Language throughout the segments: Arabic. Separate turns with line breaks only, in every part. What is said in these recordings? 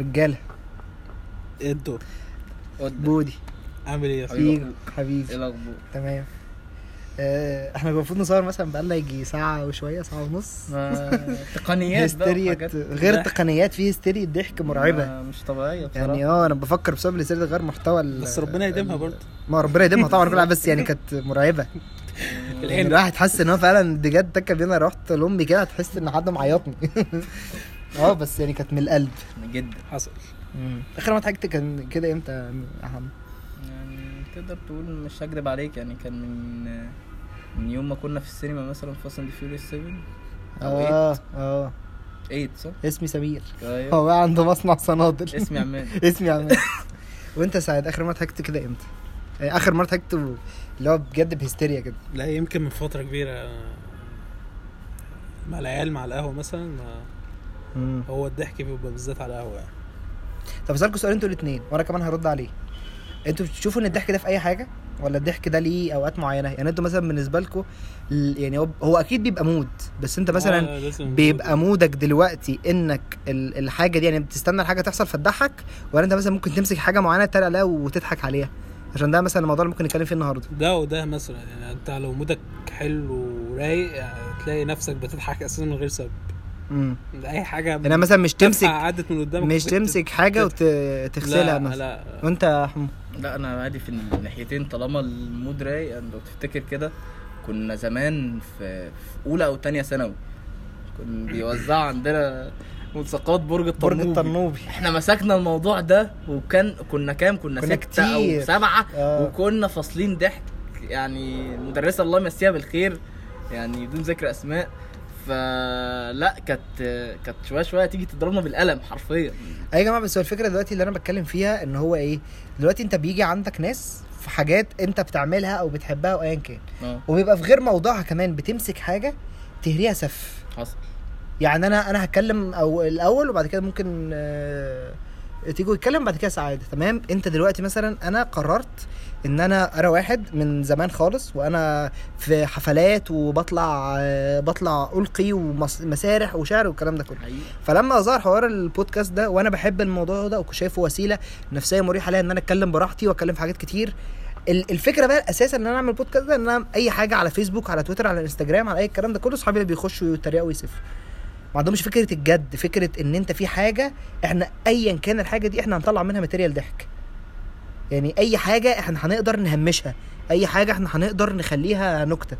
رجاله
ايه الدور
ودي
بودي
عامل ايه يا اسطى؟
حبيبي.
فيجو
ايه
حبيبي
الاخبار؟
تمام آه، احنا المفروض نصور مثلا بقالنا يجي ساعة وشوية ساعة ونص
ما- تقنيات بقى
هستيريا
وحاجات
غير
ضحك. آه،
تقنيات في هستيريا ضحك مرعبة
ما- مش طبيعيه بصراحه
يعني اه انا بفكر بسبب الهستيريا ده غير محتوى ال-
بس ربنا يديمها برضه
ما ربنا يديمها طبعا كلها بس يعني كانت مرعبة يعني
الحين
الواحد حس ان هو فعلا بجد تكه بينا رحت لامي كده هتحس ان حد معيطني اه بس يعني كانت من القلب
جدا
حصل
اخر ما ضحكت كان كده امتى يا حمد؟
يعني تقدر تقول مش هكدب عليك يعني كان من من يوم ما كنا في السينما مثلا في فاست اند فيوريوس 7 او 8
اه اه
8 صح؟
اسمي سمير
ايوه
هو بقى عنده مصنع صنادل
اسمي عماد
اسمي عماد وانت سعد اخر مره ضحكت كده امتى؟ يعني اخر مره ضحكت و- اللي هو بجد بهستيريا كده
لا يمكن من فتره كبيره مع العيال مع القهوه مثلا ما- هو الضحك بيبقى بالذات على القهوه
آه،
يعني
طب اسالكوا سؤال انتوا الاثنين وانا كمان هرد عليه انتوا بتشوفوا ان الضحك ده في اي حاجه ولا الضحك ده ليه اوقات معينه يعني انتوا مثلا بالنسبه لكم يعني هو هو اكيد بيبقى مود بس انت مثلا
آه، لازم-
بيبقى مودك دلوقتي انك ال- الحاجه دي يعني بتستنى الحاجه تحصل فتضحك ولا انت مثلا ممكن تمسك حاجه معينه تتريق عليها وتضحك عليها عشان ده مثلا الموضوع اللي ممكن نتكلم فيه النهارده
ده وده مثلا يعني انت لو مودك حلو ورايق يعني تلاقي نفسك بتضحك اساسا من غير سبب
امم
ده اي حاجه
انا مثلا مش تمسك
عدت من قدامك
مش
بت-
تمسك حاجه
لا
وتغسلها مثلا
لا
وانت يا حمو
لا انا عادي في الناحيتين طالما المود رايق يعني لو تفتكر كده كنا زمان في, في اولى او تانية ثانوي كنا بيوزعوا عندنا ملصقات برج الطنوبي
برج الطنوبي
احنا مسكنا الموضوع ده وكان كنا كام كنا,
كنا
ستة
كتير.
او سبعة
آه.
وكنا فاصلين ضحك يعني المدرسة الله يمسيها بالخير يعني بدون ذكر اسماء فلا كانت كانت شويه شويه تيجي تضربنا بالقلم حرفيا
اي يا جماعه بس هو الفكره دلوقتي اللي انا بتكلم فيها ان هو ايه دلوقتي انت بيجي عندك ناس في حاجات انت بتعملها او بتحبها او ايا كان
اه
وبيبقى في غير موضوعها كمان بتمسك حاجه تهريها سف
حصل
يعني انا انا هتكلم او الاول وبعد كده ممكن آه، تيجوا يتكلم بعد كده سعاده تمام انت دلوقتي مثلا انا قررت ان انا انا واحد من زمان خالص وانا في حفلات وبطلع آه، بطلع القي ومسارح وشعر والكلام ده كله
حقيقي
فلما ظهر حوار البودكاست ده وانا بحب الموضوع ده وكنت شايفه وسيله نفسيه مريحه ليا ان انا اتكلم براحتي واتكلم في حاجات كتير ال- الفكره بقى الاساس ان انا اعمل بودكاست ده ان انا اي حاجه على فيسبوك على تويتر على انستجرام على اي الكلام ده كله اصحابي اللي بيخشوا يتريقوا ويسفوا ما عندهمش فكره الجد فكره ان انت في حاجه احنا ايا كان الحاجه دي احنا هنطلع منها ماتيريال ضحك يعني اي حاجه احنا هنقدر نهمشها اي حاجه احنا هنقدر نخليها نكته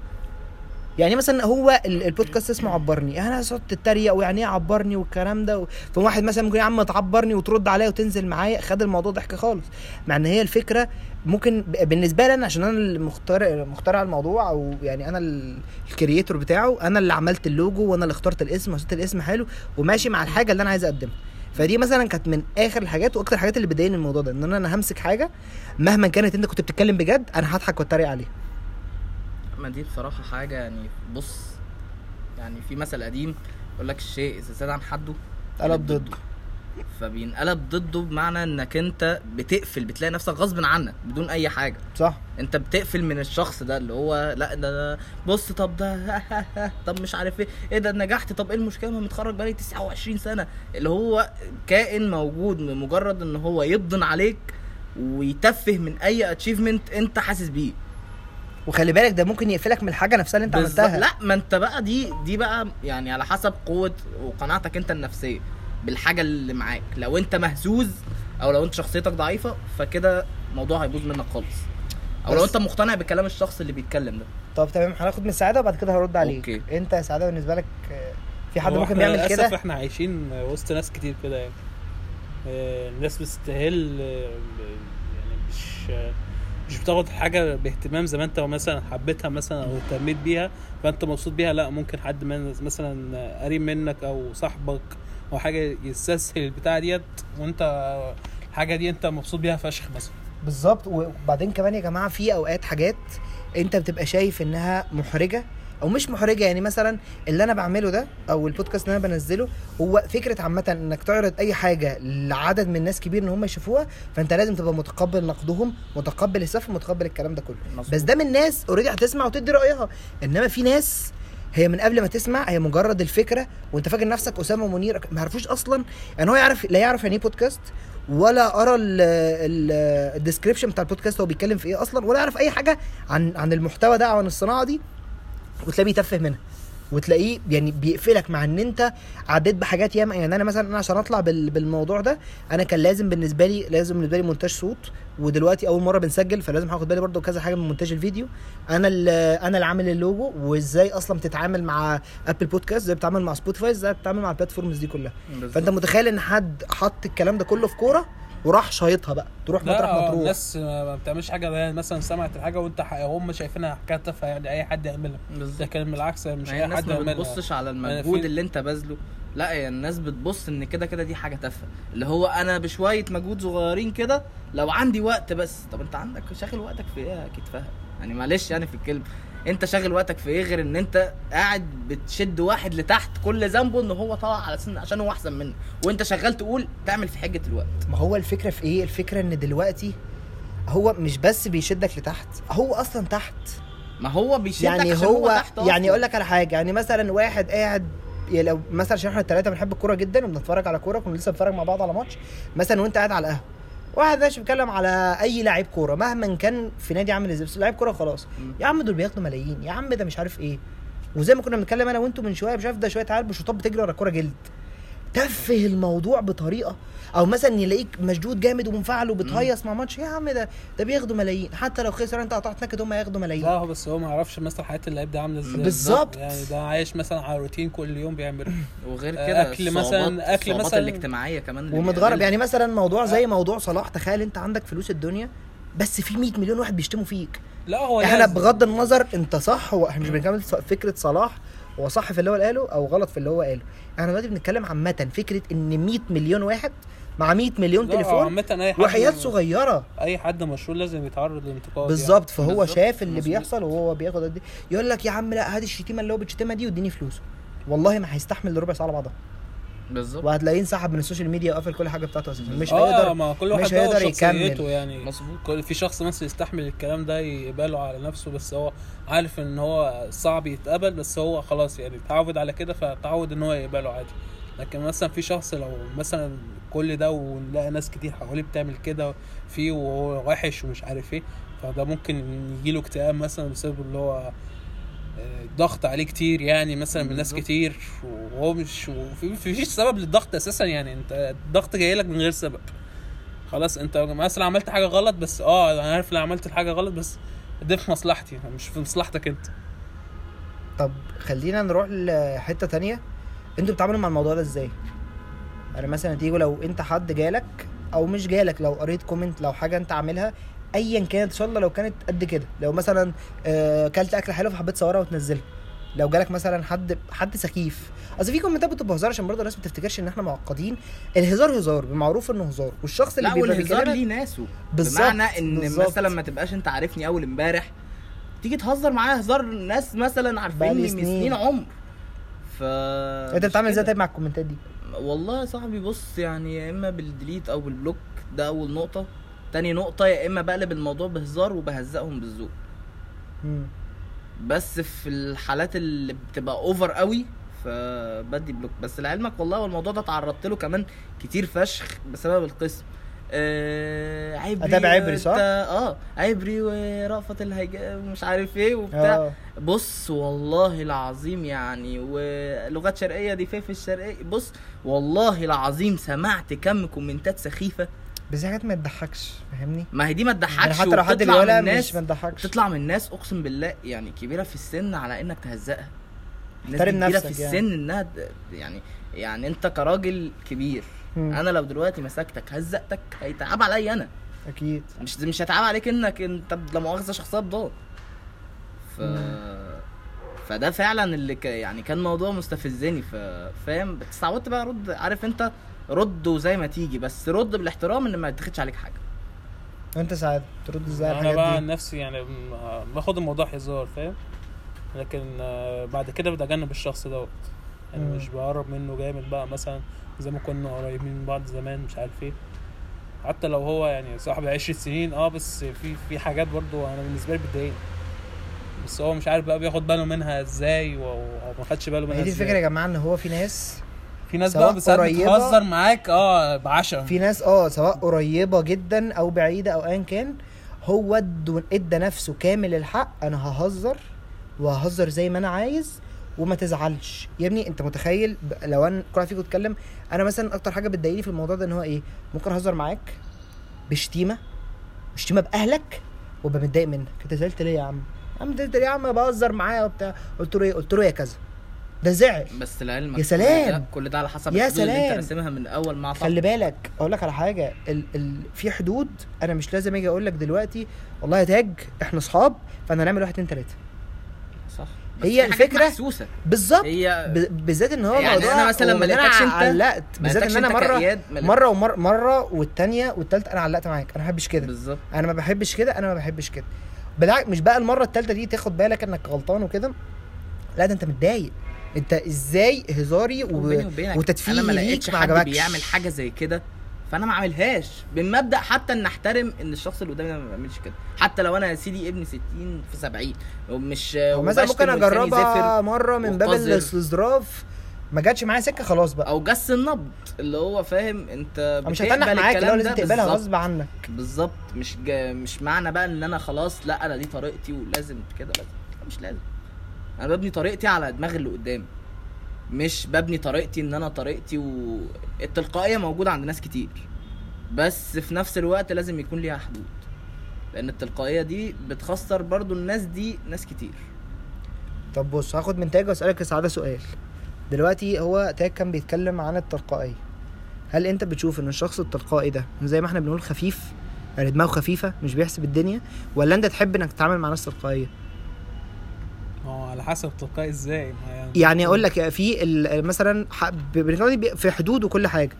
يعني مثلا هو ال- البودكاست اسمه عبرني انا صوت تتريق ويعني ايه عبرني والكلام ده و... فواحد مثلا ممكن يا عم تعبرني وترد عليا وتنزل معايا خد الموضوع ضحك خالص مع ان هي الفكره ممكن ب- بالنسبه لي انا عشان انا اللي مختار مخترع الموضوع او يعني انا ال- الكرييتور بتاعه انا اللي عملت اللوجو وانا اللي اخترت الاسم وحطيت الاسم حلو وماشي مع الحاجه اللي انا عايز اقدمها فدي مثلا كانت من اخر الحاجات واكتر الحاجات اللي بتضايقني من الموضوع ده ان انا- انا همسك حاجه مهما كانت انت كنت بتتكلم بجد انا هضحك واتريق عليها
ما دي بصراحه حاجه يعني بص يعني في مثل قديم يقول لك الشيء اذا زاد عن حده
قلب ضده
فبينقلب ضده بمعنى انك انت بتقفل بتلاقي نفسك غصب عنك بدون اي حاجه
صح
انت بتقفل من الشخص ده اللي هو لا ده ده بص طب ده طب مش عارف ايه ايه ده نجحت طب ايه المشكله ما متخرج بقالي 29 سنه اللي هو كائن موجود مجرد ان هو يبضن عليك ويتفه من اي اتشيفمنت انت حاسس بيه
وخلي بالك ده ممكن يقفلك من الحاجه نفسها اللي انت
بالظبط.
عملتها
لا ما انت بقى دي دي بقى يعني على حسب قوه وقناعتك انت النفسيه بالحاجه اللي معاك لو انت مهزوز او لو انت شخصيتك ضعيفه فكده الموضوع هيبوظ منك خالص او لو
بس-
انت مقتنع بكلام الشخص اللي بيتكلم ده
طب تمام هناخد من سعاده وبعد كده هرد عليك
أوكي.
انت يا سعاده بالنسبه لك آه، في حد
هو
ممكن
إحنا
يعمل
للأسف
كده
احنا عايشين وسط ناس كتير كده يعني آه، الناس بتستهل آه، يعني مش آه، مش بتاخد حاجة باهتمام زي ما انت مثلا حبيتها مثلا او اهتميت بيها فانت مبسوط بيها لا ممكن حد من مثلا قريب منك او صاحبك او حاجة يستسهل البتاعة ديت وانت الحاجة دي انت مبسوط بيها فشخ مثلا
بالظبط وبعدين كمان يا جماعه في اوقات حاجات انت بتبقى شايف انها محرجه او مش محرجه يعني مثلا اللي انا بعمله ده او البودكاست اللي انا بنزله هو فكره عامه انك تعرض اي حاجه لعدد من ناس كبير ان هم يشوفوها فانت لازم تبقى متقبل نقدهم متقبل السف متقبل الكلام ده كله بس ده من ناس اوريدي هتسمع وتدي رايها انما في ناس هي من قبل ما تسمع هي مجرد الفكره وانت فاكر نفسك اسامه منير ما يعرفوش اصلا يعني هو يعرف لا يعرف يعني ايه بودكاست ولا ارى الديسكربشن بتاع البودكاست هو بيتكلم في ايه اصلا ولا يعرف اي حاجه عن عن المحتوى ده او عن الصناعه دي وتلاقيه بيتفه منها وتلاقيه يعني بيقفلك مع ان انت عديت بحاجات ياما يعني انا مثلا انا عشان اطلع بال- بالموضوع ده انا كان لازم بالنسبه لي لازم بالنسبه لي مونتاج صوت ودلوقتي اول مره بنسجل فلازم هاخد بالي برضو كذا حاجه من مونتاج الفيديو انا اللي انا اللي عامل اللوجو وازاي اصلا بتتعامل مع ابل بودكاست زي بتتعامل مع سبوتيفاي زي بتتعامل مع البلاتفورمز دي كلها فانت متخيل ان حد حط الكلام ده كله في كوره وراح شايطها بقى تروح مطرح
لا
ما تروح
الناس ما بتعملش حاجه يعني مثلا سمعت الحاجه وانت ح- هم شايفينها حكايه تافهه يعني اي حد يعملها ده
بالظبط
كان بالعكس مش
يعني
اي
الناس
حد
ما
يعملها
بتبصش على
فين-
المجهود اللي انت باذله لا هي الناس بتبص ان كده كده دي حاجه تافهه اللي هو انا بشويه مجهود صغيرين كده لو عندي وقت بس طب انت عندك شاغل وقتك في ايه يا كتفها يعني معلش يعني في الكلمه انت شاغل وقتك في ايه غير ان انت قاعد بتشد واحد لتحت كل ذنبه ان هو طلع على سن عشان هو احسن منك وانت شغال تقول تعمل في حجه الوقت
ما هو الفكره في ايه الفكره ان دلوقتي هو مش بس بيشدك لتحت هو اصلا تحت
ما هو بيشدك
يعني
عشان
هو,
تحت أصلاً.
يعني اقول لك على حاجه يعني مثلا واحد قاعد يعني لو مثلا عشان احنا الثلاثه بنحب الكوره جدا وبنتفرج على كوره كنا لسه بنتفرج مع بعض على ماتش مثلا وانت قاعد على القهوه واحد ماشي بيتكلم على اي لاعب كوره مهما كان في نادي عامل ازاي بس لاعب كوره خلاص
مم.
يا عم دول بياخدوا ملايين يا عم ده مش عارف ايه وزي ما كنا بنتكلم انا وانتم من شويه مش عارف ده شويه عيال بشوطات بتجري ورا الكوره جلد تفه الموضوع بطريقه او مثلا يلاقيك مشدود جامد ومنفعل وبتهيص مع ماتش يا عم ده ده بياخدوا ملايين حتى لو خسر انت هتقعد تنكد هم هياخدوا ملايين
لا هو بس هو ما يعرفش مثلا حياه اللعيب ده عامله ازاي
بالظبط.
يعني ده عايش مثلا على روتين كل يوم بيعمل
وغير
آه،
كده
أكل
الصعوبات-
مثلا- أكل
الصعوبات
مثلا
الاجتماعيه كمان اللي
ومتغرب
بيقابلها.
يعني مثلا موضوع زي موضوع صلاح تخيل انت عندك فلوس الدنيا بس في 100 مليون واحد بيشتموا فيك
لا هو
احنا
لازم.
بغض النظر انت صح هو احنا مش بنكمل ص- فكره صلاح هو صح في اللي هو قاله او غلط في اللي هو قاله احنا دلوقتي بنتكلم عامه فكره ان 100 مليون واحد مع 100 مليون
لا، هو
تليفون
عامه اي حد
وحياه صغيره
اي حد مشهور لازم يتعرض للانتقاد يعني.
بالظبط فهو
بالظبط،
شاف اللي
مظبوط.
بيحصل وهو بياخد قد ايه يقول لك يا عم لا هات الشتيمه اللي هو بتشتمها دي واديني فلوسه والله ما هيستحمل ربع ساعه على بعضها يعني.
بالظبط
وهتلاقيه انسحب من السوشيال ميديا وقفل كل حاجه بتاعته اساسا مش
يعني. آه
هيقدر
ما كل واحد
مش
له
هيقدر
شخصيته
يكمل.
يعني
مظبوط.
كل- في شخص مثلا يستحمل الكلام ده يقبله على نفسه بس هو عارف ان هو صعب يتقبل بس هو خلاص يعني اتعود على كده فتعود ان هو يقبله عادي لكن مثلا في شخص لو مثلا كل ده ونلاقي ناس كتير حواليه بتعمل كده فيه وهو وحش ومش عارف ايه فده ممكن يجيله اكتئاب مثلا بسبب اللي هو آه، ضغط عليه كتير يعني مثلا من ناس
بالظبط.
كتير وهو مش وفي- مفيش سبب للضغط اساسا يعني انت الضغط جاي لك من غير سبب خلاص انت مثلا عملت حاجه غلط بس اه انا عارف ان انا عملت الحاجه غلط بس ده في مصلحتي مش في مصلحتك انت
طب خلينا نروح لحته تانية انتوا بتتعاملوا مع الموضوع ده ازاي يعني مثلا تيجوا لو انت حد جالك او مش جالك لو قريت كومنت لو حاجه انت عاملها ايا كانت ان شاء الله لو كانت قد كده لو مثلا آه، كلت اكله حلوه فحبيت تصورها وتنزلها لو جالك مثلا حد حد سخيف اصل في كومنتات بتبقى هزار عشان برضه الناس ما تفتكرش ان احنا معقدين الهزار هزار بالمعروف انه هزار والشخص اللي
لا
بيبقى
والهزار
بيكلمك-
ليه ناسه
بالظبط،
بمعنى ان
بالظبط.
مثلا ما تبقاش انت عارفني اول امبارح تيجي تهزر معايا هزار ناس مثلا عارفيني من
سنين.
سنين عمر ف
انت
مش
بتتعامل ازاي
كده.
طيب مع الكومنتات دي
والله يا صاحبي بص يعني يا اما بالديليت او بالبلوك ده اول نقطه تاني نقطه يا اما بقلب الموضوع بهزار وبهزقهم بالذوق
مم.
بس في الحالات اللي بتبقى اوفر قوي فبدي بلوك بس لعلمك والله والموضوع ده اتعرضت له كمان كتير فشخ بسبب القسم آه عبري
أتابع عبري،
وت-
صح؟
اه عبري ورأفت الهيجاء ومش عارف ايه وبتاع
اه
بص والله العظيم يعني ولغات شرقيه دي في في الشرقيه بص والله العظيم سمعت كم كومنتات سخيفه
بس دي حاجات ما تضحكش فاهمني
ما هي دي ما تضحكش
يعني حتى لو حد
وبتطلع من
بيقولها
الناس-
مش ما تضحكش
تطلع من ناس اقسم بالله يعني كبيره في السن على انك تهزقها الناس
احترم
دي كبيره في
نفسك
السن
يعني.
انها د- يعني يعني انت كراجل كبير
مم.
انا لو دلوقتي مسكتك هزقتك هيتعب عليا انا
اكيد
مش مش هتعب عليك انك انت لا مؤاخذه شخصيه بضاد ف
مم.
فده فعلا اللي ك... يعني كان موضوع مستفزني ف... فاهم بس اتعودت بقى ارد عارف انت رد وزي ما تيجي بس رد بالاحترام ان ما يتاخدش عليك حاجه
وانت سعاد ترد ازاي على
انا بقى
الحاجات
عن
دي
نفسي يعني م- باخد الموضوع هزار فاهم لكن آه، بعد كده بتجنب الشخص دوت يعني
مم.
مش بقرب منه جامد بقى مثلا زي ما كنا قريبين من بعض زمان مش عارف ايه حتى لو آه، هو يعني صاحب 10 سنين اه بس في في حاجات برضو انا بالنسبه لي بتضايقني بس هو مش عارف بقى بياخد باله منها ازاي و- وهو ما خدش باله
ما
منها
هي يعني دي الفكره
ازاي
يا جماعه ان هو في ناس
في ناس
سواء
بقى ساعات
قريبة-
بتهزر معاك اه بعشم
في ناس اه سواء قريبه جدا او بعيده او ايا كان هو ادوا- ادى نفسه كامل الحق انا ههزر وههزر زي ما انا عايز وما تزعلش يا ابني انت متخيل ب- لو انا كل واحد فيكم اتكلم انا مثلا اكتر حاجه بتضايقني في الموضوع ده ان هو ايه ممكن اهزر معاك بشتيمه شتيمه باهلك وابقى متضايق منك انت زعلت ليه يا عم يا عم زعلت ليه يا عم بهزر معاه وبتاع قلت له ايه قلت له يا كذا ده زعل
بس لعلمك
يا سلام.
كل ده- كل ده على حسب
يا
الحدود اللي
سلام.
انت راسمها من اول مع صاحبك
خلي بالك اقول لك على حاجه ال ال في حدود انا مش لازم اجي اقول لك دلوقتي والله يا تاج احنا اصحاب فانا هنعمل واحد اتنين تلاته
صح بس
هي
في حاجات
الفكرة-
محسوسه
بالظبط
هي
ب- بالذات ان هو
يعني
الموضوع
أنا مثلاً ما
وإن أنا
لقيتكش أنت-
علقت بالذات ان انا مره
مره
مره ومره مره والتانيه والتالته انا علقت معاك انا ما بحبش كده
بالظبط
انا ما بحبش كده انا ما بحبش كده بالعكس مش بقى المره التالته دي تاخد بالك انك غلطان وكده لا ده انت متضايق انت ازاي هزاري
وبيني
و...
وبينك
وتدفيقي
انا ما
ليك
لقيتش
ما
حد
عجبكش.
بيعمل حاجه زي كده فانا ما اعملهاش من مبدا حتى ان احترم ان الشخص اللي قدامي ده ما بيعملش كده حتى لو انا يا سيدي ابن 60 في 70 ومش
او مثلا
وبشتم
ممكن
ولساني زافر
اجربها مره من باب
وقذر.
الاستظراف ما جاتش معايا سكه خلاص بقى
او جس النبض اللي هو فاهم انت
أو مش
بتقبل
هتنح معاك اللي هو
الكلام
لازم
ده
تقبلها
بالظبط.
غصب عنك
بالظبط مش جا مش معنى بقى ان انا خلاص لا انا دي طريقتي ولازم كده لازم لا، مش لازم انا ببني طريقتي على دماغ اللي قدامي مش ببني طريقتي ان انا طريقتي و... التلقائيه موجوده عند ناس كتير بس في نفس الوقت لازم يكون ليها حدود لان التلقائيه دي بتخسر برضو الناس دي ناس كتير
طب بص هاخد من تاج واسالك يا سعاده سؤال دلوقتي هو تاج كان بيتكلم عن التلقائيه هل انت بتشوف ان الشخص التلقائي ده زي ما احنا بنقول خفيف يعني دماغه خفيفه مش بيحسب الدنيا ولا انت تحب انك تتعامل مع ناس تلقائيه
ما هو على حسب تلقائي ازاي ما يعني
يعني اقول لك في ال- مثلا ح- بنتكلم دي في حدود وكل حاجه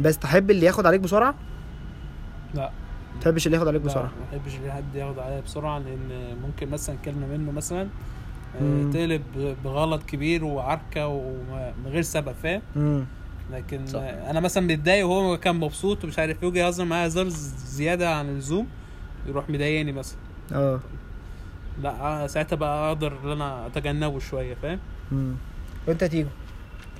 بس تحب اللي ياخد عليك بسرعه
لا
ما تحبش اللي ياخد عليك
لا،
بسرعه
ما بحبش ان حد ياخد عليا بسرعه لان ممكن مثلا كلمه منه مثلا آه،
مم.
تقلب بغلط كبير وعركه ومن غير سبب فاهم
امم
لكن
صح.
آه، انا مثلا متضايق وهو كان مبسوط ومش عارف ايه وجي يهزر معايا هزار زياده عن اللزوم يروح مضايقني مثلا
اه
لا آه، ساعتها بقى اقدر ان انا اتجنبه شويه فاهم
امم وانت تيجو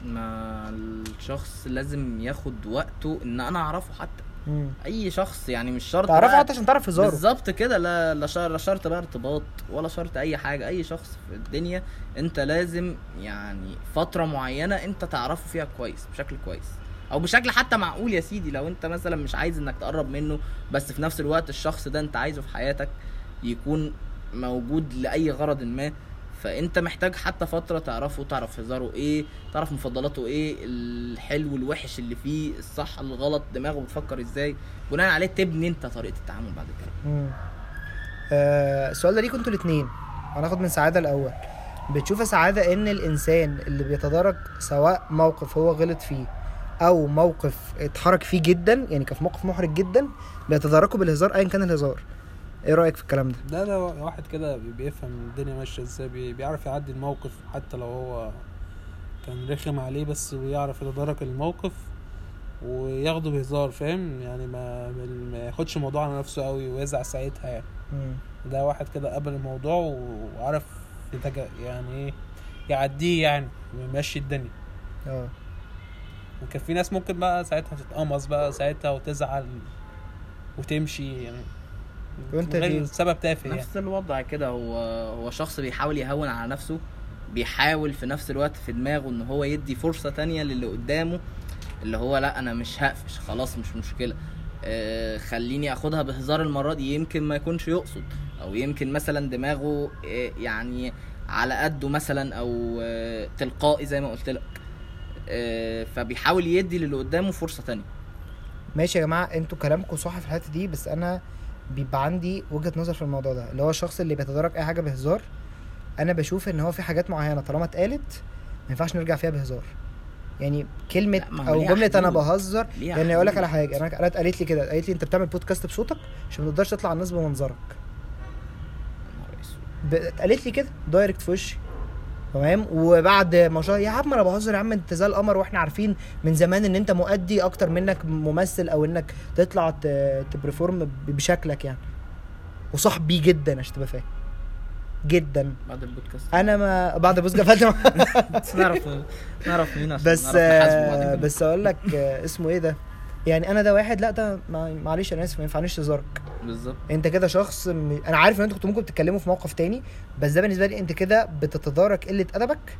ما الشخص لازم ياخد وقته ان انا اعرفه حتى
امم
اي شخص يعني مش شرط
تعرفه
بقى-
حتى عشان تعرف هزاره
بالظبط كده لا لا شر- لا شرط بقى ارتباط ولا شرط اي حاجه اي شخص في الدنيا انت لازم يعني فتره معينه انت تعرفه فيها كويس بشكل كويس او بشكل حتى معقول يا سيدي لو انت مثلا مش عايز انك تقرب منه بس في نفس الوقت الشخص ده انت عايزه في حياتك يكون موجود لاي غرض ما فانت محتاج حتى فتره تعرفه تعرف هزاره ايه تعرف مفضلاته ايه الحلو الوحش اللي فيه الصح الغلط دماغه بتفكر ازاي بناء عليه تبني انت طريقه التعامل بعد كده
مم. آه السؤال ده ليكوا انتوا الاثنين هناخد من سعاده الاول بتشوف يا سعاده ان الانسان اللي بيتدارك سواء موقف هو غلط فيه او موقف اتحرك فيه جدا يعني كان في موقف محرج جدا بيتداركه بالهزار ايا كان الهزار ايه رايك في الكلام ده
ده ده واحد كده بي- بيفهم الدنيا ماشيه ازاي بي- بيعرف يعدي الموقف حتى لو هو كان رخم عليه بس ويعرف يتدارك الموقف وياخده بهزار فاهم يعني ما ما ياخدش الموضوع على نفسه قوي ويزعل ساعتها يعني
مم.
ده واحد كده قبل الموضوع و- وعرف يتج- يعني ايه يعديه يعني ويمشي الدنيا
اه
وكان في ناس ممكن بقى ساعتها تتقمص بقى ساعتها وتزعل وتمشي يعني
وانت
من غير
ليه؟
سبب تافه يعني
نفس الوضع كده هو هو شخص بيحاول يهون على نفسه بيحاول في نفس الوقت في دماغه ان هو يدي فرصه تانية للي قدامه اللي هو لا انا مش هقفش خلاص مش مشكله آه خليني اخدها بهزار المره دي يمكن ما يكونش يقصد او يمكن مثلا دماغه آه يعني على قده مثلا او آه تلقائي زي ما قلت لك آه فبيحاول يدي للي قدامه فرصه تانية
ماشي يا جماعه انتوا كلامكم صح في الحته دي بس انا بيبقى عندي وجهه نظر في الموضوع ده اللي هو الشخص اللي بيتدارك اي حاجه بهزار انا بشوف ان هو في حاجات معينه طالما اتقالت ما ينفعش نرجع فيها بهزار يعني كلمه
لا، ما هو
او
ليها
جمله انا
حدود.
بهزر
ليها
يعني اقول لك
حدود.
على حاجه انا أنا قالت لي كده قالت لي انت بتعمل بودكاست بصوتك عشان ما تقدرش تطلع على الناس بمنظرك
يا نهار أسود.
ب- قالت لي كده دايركت في وشي تمام وبعد ما شاء يا عم انا بهزر يا عم انت زي القمر واحنا عارفين من زمان ان انت مؤدي اكتر منك ممثل او انك تطلع ت- تبرفورم ب- بشكلك يعني وصاحبي جدا عشان تبقى فاهم جدا
بعد البودكاست
انا ما بعد بوز جفت
نعرف نعرف مين عشان
بس
نعرف نحاسبه بعدين.
آه، بس اقول لك آه، اسمه ايه ده يعني انا ده واحد لا ده مع- معلش انا اسف ما ينفعنيش هزارك
بالظبط
انت كده شخص م... انا عارف ان انتوا كنتوا ممكن تتكلموا في موقف تاني بس ده بالنسبه لي انت كده بتتدارك قله ادبك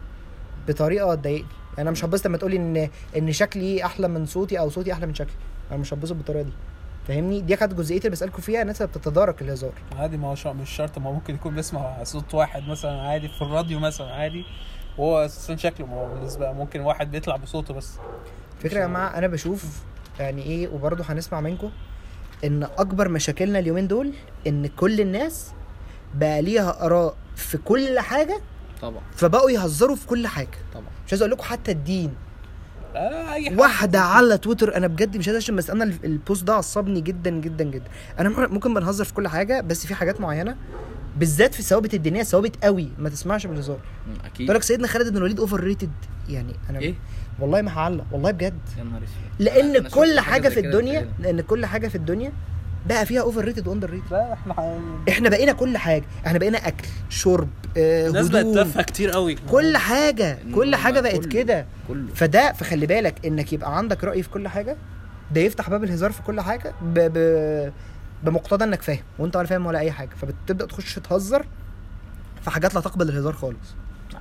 بطريقه تضايقني انا مش هبسط لما تقولي ان ان شكلي احلى من صوتي او صوتي احلى من شكلي انا مش هبسط بالطريقه دي فاهمني دي كانت جزئيتي اللي بسالكم فيها الناس اللي بتتدارك الهزار
عادي ما هو شا- مش شرط ما هو ممكن يكون بيسمع صوت واحد مثلا عادي في الراديو مثلا عادي وهو اساسا شكله ما هو بالنسبه ممكن واحد بيطلع بصوته بس
فكرة يا جماعه انا بشوف يعني ايه وبرضه هنسمع منكم ان اكبر مشاكلنا اليومين دول ان كل الناس بقى ليها اراء في كل حاجه
طبعا
فبقوا يهزروا في كل حاجه
طبعا
مش عايز اقول لكم حتى الدين
آه اي حاجه
واحده على تويتر انا بجد مش عايز اشتم بس انا ال- البوست ده عصبني جدا جدا جدا انا ممكن- ممكن بنهزر في كل حاجه بس في حاجات معينه بالذات في الثوابت الدينيه ثوابت قوي ما تسمعش بالهزار
مم، اكيد
تقول لك سيدنا خالد بن الوليد اوفر ريتد يعني انا
ايه
والله ما هعلق والله بجد
يا نهار اسود أنا
لان
شفت
كل
حاجة
حاجه
زي
في
كده
الدنيا
بتهيألي.
لان كل حاجه في الدنيا بقى فيها اوفر ريتد واندر ريتد
لا احنا ح-
احنا بقينا كل حاجه احنا بقينا اكل شرب آه،
الناس بقت
هدوم
تافهه كتير قوي
كل حاجه كل
بقى
حاجه بقت
كله.
كده
كله
فده فخلي بالك انك يبقى عندك راي في كل حاجه ده يفتح باب الهزار في كل حاجه ب... ب... بمقتضى انك فاهم وانت ولا فاهم ولا اي حاجه فبتبدا تخش تهزر في حاجات لا تقبل الهزار خالص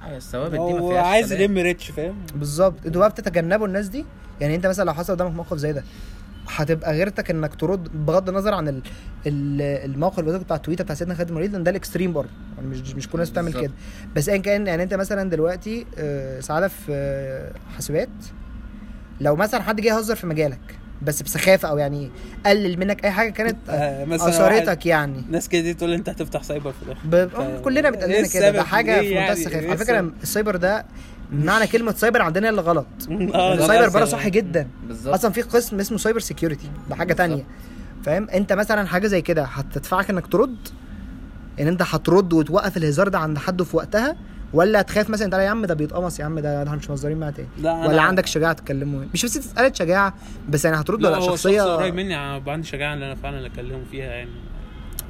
آه، الثوابت دي ما
هو
فيهاش
عايز
كلام.
يلم ريتش فاهم
بالظبط انتوا بقى بتتجنبوا الناس دي يعني انت مثلا لو حصل قدامك موقف زي ده هتبقى غيرتك انك ترد بغض النظر عن ال... ال... الموقف اللي قلت لك بتاع التويته بتاع سيدنا خالد مريد لان ده الاكستريم برضه يعني مش مش كل الناس بتعمل
بالظبط.
كده بس ايا كان يعني انت مثلا دلوقتي آه، سعاده في آه، حاسبات لو مثلا حد جه يهزر في مجالك بس بسخافه او يعني قلل منك اي حاجه كانت آه،
آه، مثلا واحد-
اثارتك يعني
ناس كده دي تقول انت هتفتح سايبر في الاخر
ب... آه، كلنا
إيه
بيتقال لنا كده
السبب؟
ده حاجه
ليه
في منتهى
يعني؟
السخافه
إيه
على فكره
السبب؟
السايبر ده معنى كلمه سايبر عندنا اللي غلط
آه، لا،
السايبر
لا،
بره
لا.
صح جدا
بالظبط
اصلا في قسم اسمه سايبر سيكيورتي ده حاجه تانية فاهم انت مثلا حاجه زي كده هتدفعك انك ترد ان انت هترد وتوقف الهزار ده عند حد في وقتها ولا هتخاف مثلا انت يا عم ده بيتقمص يا عم ده ده احنا مش مهزرين معاه تاني
لا أنا-
ولا عندك شجاعه تكلمه مش بس مساله شجاعه بس يعني هترد
لا
ولا
هو شخص
شخصيه
قريب مني انا بقى عندي شجاعه ان انا فعلا اللي اكلمه فيها يعني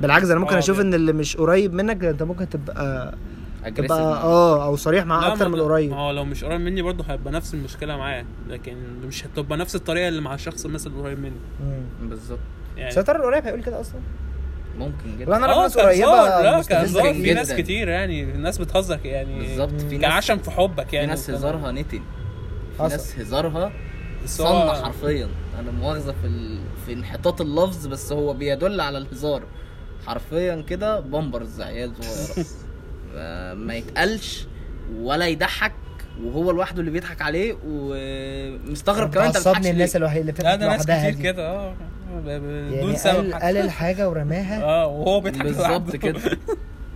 بالعكس انا ممكن
آه،
اشوف
يعني.
ان اللي مش قريب منك انت ممكن تبقى تبقى
اجريسيف
اه او صريح معاه
لا، آه.
اكتر
ما-
من القريب
ما هو لو مش قريب مني برضه هيبقى نفس المشكله معاه لكن مش هتبقى نفس الطريقه اللي مع الشخص مثلا اللي قريب مني
مم.
بالظبط
يعني
سيطر القريب هيقول كده اصلا
ممكن
والله
جدا
انا
اه
ناس
كهزار
قريبه
لا
مستفزة
كهزار في
جدا.
ناس كتير يعني الناس بتهزر يعني
بالظبط في ناس
كعشم في حبك
في
يعني
ناس
وكده.
هزارها نتن في
حصل.
ناس هزارها
بس هو-
صنة حرفيا انا مؤاخذه في ال... في انحطاط اللفظ بس هو بيدل على الهزار حرفيا كده بامبرز عيال صغيره آه، ما يتقلش ولا يضحك وهو لوحده اللي بيضحك عليه ومستغرب كمان انت
بتعصبني
بتضحكش
الناس
ليه؟
الوحيده اللي
لا
بتضحك
ده ناس
لوحدها
كتير
دي
كده اه ب- ب- بدون
يعني
سبب
قال قال
حتى.
الحاجه ورماها آه،
اه وهو بيضحك
بالظبط
لوحده.
كده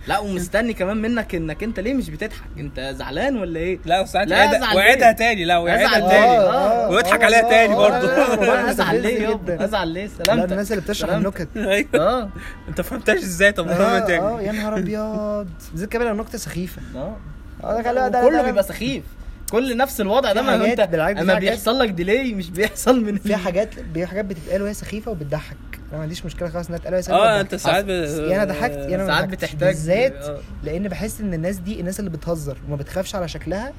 لا ومستني كمان منك انك انت ليه مش بتضحك انت زعلان ولا ايه
لا وساعات
لا،
وعدها
أزعل
وعدها
ليه؟
تاني لا
أزعل
وعدها
ليه؟
تاني
آه،
ويضحك عليها تاني برضه.
آه،
ازعل ليه يابا
جدا
ازعل ليه
آه، لا
سلامتك
الناس اللي بتشرح
سلامتك.
النكت
أيوة.
اه
انت فهمتهاش ازاي طب فاهمها
اه آه،
تاني
يا نهار ابيض زي كمان لو نكته سخيفه
اه
آه، ده خلاص، ده-
كله
ده-
بيبقى سخيف كل نفس الوضع ده
في
ما هو
حاجات
انت
بالعكس، في
اما
حاجات-
بيحصل لك ديلي مش بيحصل من
في حاجات في حاجات بتتقال وهي سخيفه وبتضحك انا ما عنديش مشكله خالص انها تتقال وهي سخيفه
اه
وبتضحك.
انت ساعات ب- آه،
يا انا ضحكت يا انا ما
ساعات
ضحكتش.
بتحتاج-
بالذات
آه.
لان بحس ان الناس دي الناس اللي بتهزر وما بتخافش على شكلها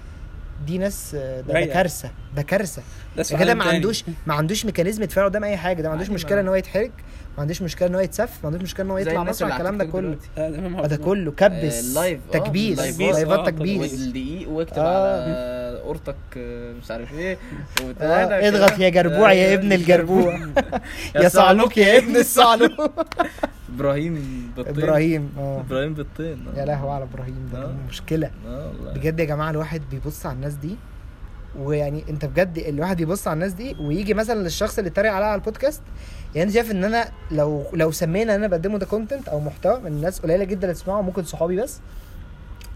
دي ناس آه، ده ده
رايقة.
كارثه ده كارثه
ده
ده
سؤال
كده ما
تاني.
عندوش ما عندوش ميكانيزم يدفعه قدام اي حاجه ده ما عندوش
عادي، ما-
مشكله ان هو يتحرك ما عندوش مشكله ان هو يتسف ما عندوش مشكله ان هو يطلع مسرح الكلام ده كله
آه، ده ما
آه، ده
هو-
كله
آه،
كبس
اللايف، آه،
تكبيس
اللايفات،
آه،
لايفات تكبيس
تكبيس.
والدقيق واكتب
آه.
على قورتك آه، مش عارف ايه
آه،
وتلاتة
اضغط
كده.
يا جربوع يا
آه،
ابن الجربوع
يا
يا صعلوك يا ابن الصعلوك
ابراهيم بالطين
ابراهيم اه
ابراهيم بالطين آه.
يا لهوي على ابراهيم ده
آه.
مشكله
اه والله
بجد يا جماعه الواحد بيبص على الناس دي ويعني انت بجد الواحد يبص على الناس دي ويجي مثلا للشخص اللي اتريق عليها على البودكاست يعني انت شايف ان انا لو لو سمينا ان انا بقدمه ده كونتنت او محتوى من الناس قليله جدا اللي تسمعه ممكن صحابي بس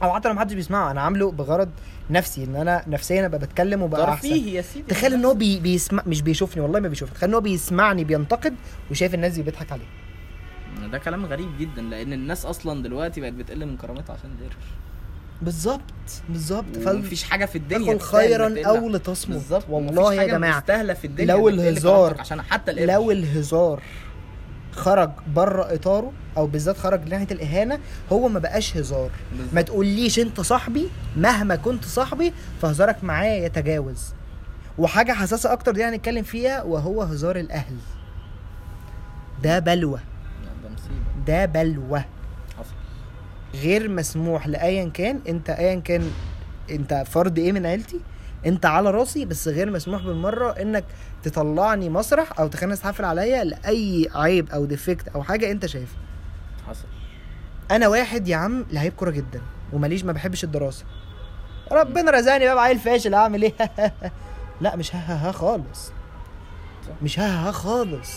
او حتى لو محدش بيسمعه انا عامله بغرض نفسي ان انا نفسيا ابقى بتكلم وبقى احسن
ترفيه يا سيدي
تخيل ان هو بي بيسمع مش بيشوفني والله ما بيشوفني تخيل ان هو بيسمعني بينتقد وشايف الناس دي بتضحك عليه
ده كلام غريب جدا لان الناس اصلا دلوقتي بقت بتقل من كرامتها عشان ديرش
بالظبط بالظبط
ومفيش حاجه في الدنيا
فادخل
تستاهل إنك
خيرا
تقل
او لتصمت
بالظبط
والله
مفيش
يا
حاجة
جماعه
مستاهله في الدنيا
لو
إنك تقل
الهزار-
كرامتك عشان حتى القرش
لو الهزار خرج بره اطاره او بالذات خرج ناحيه الاهانه هو ما بقاش هزار ما تقوليش انت صاحبي مهما كنت صاحبي فهزارك معايا يتجاوز وحاجه حساسه اكتر دي هنتكلم فيها وهو هزار الاهل ده بلوى
ده مصيبه
ده بلوى
حصل
غير مسموح لايا كان انت ايا كان انت فرد ايه من عيلتي انت على راسي بس غير مسموح بالمره انك تطلعني مسرح او تخليني استحفل عليا لاي عيب او ديفكت او حاجه انت شايفها
حصل
انا واحد يا عم لعيب كوره جدا وماليش ما بحبش الدراسه ربنا رزقني بقى عيل فاشل اعمل ايه لا مش ها ها ها خالص
صح.
مش ها ها ها خالص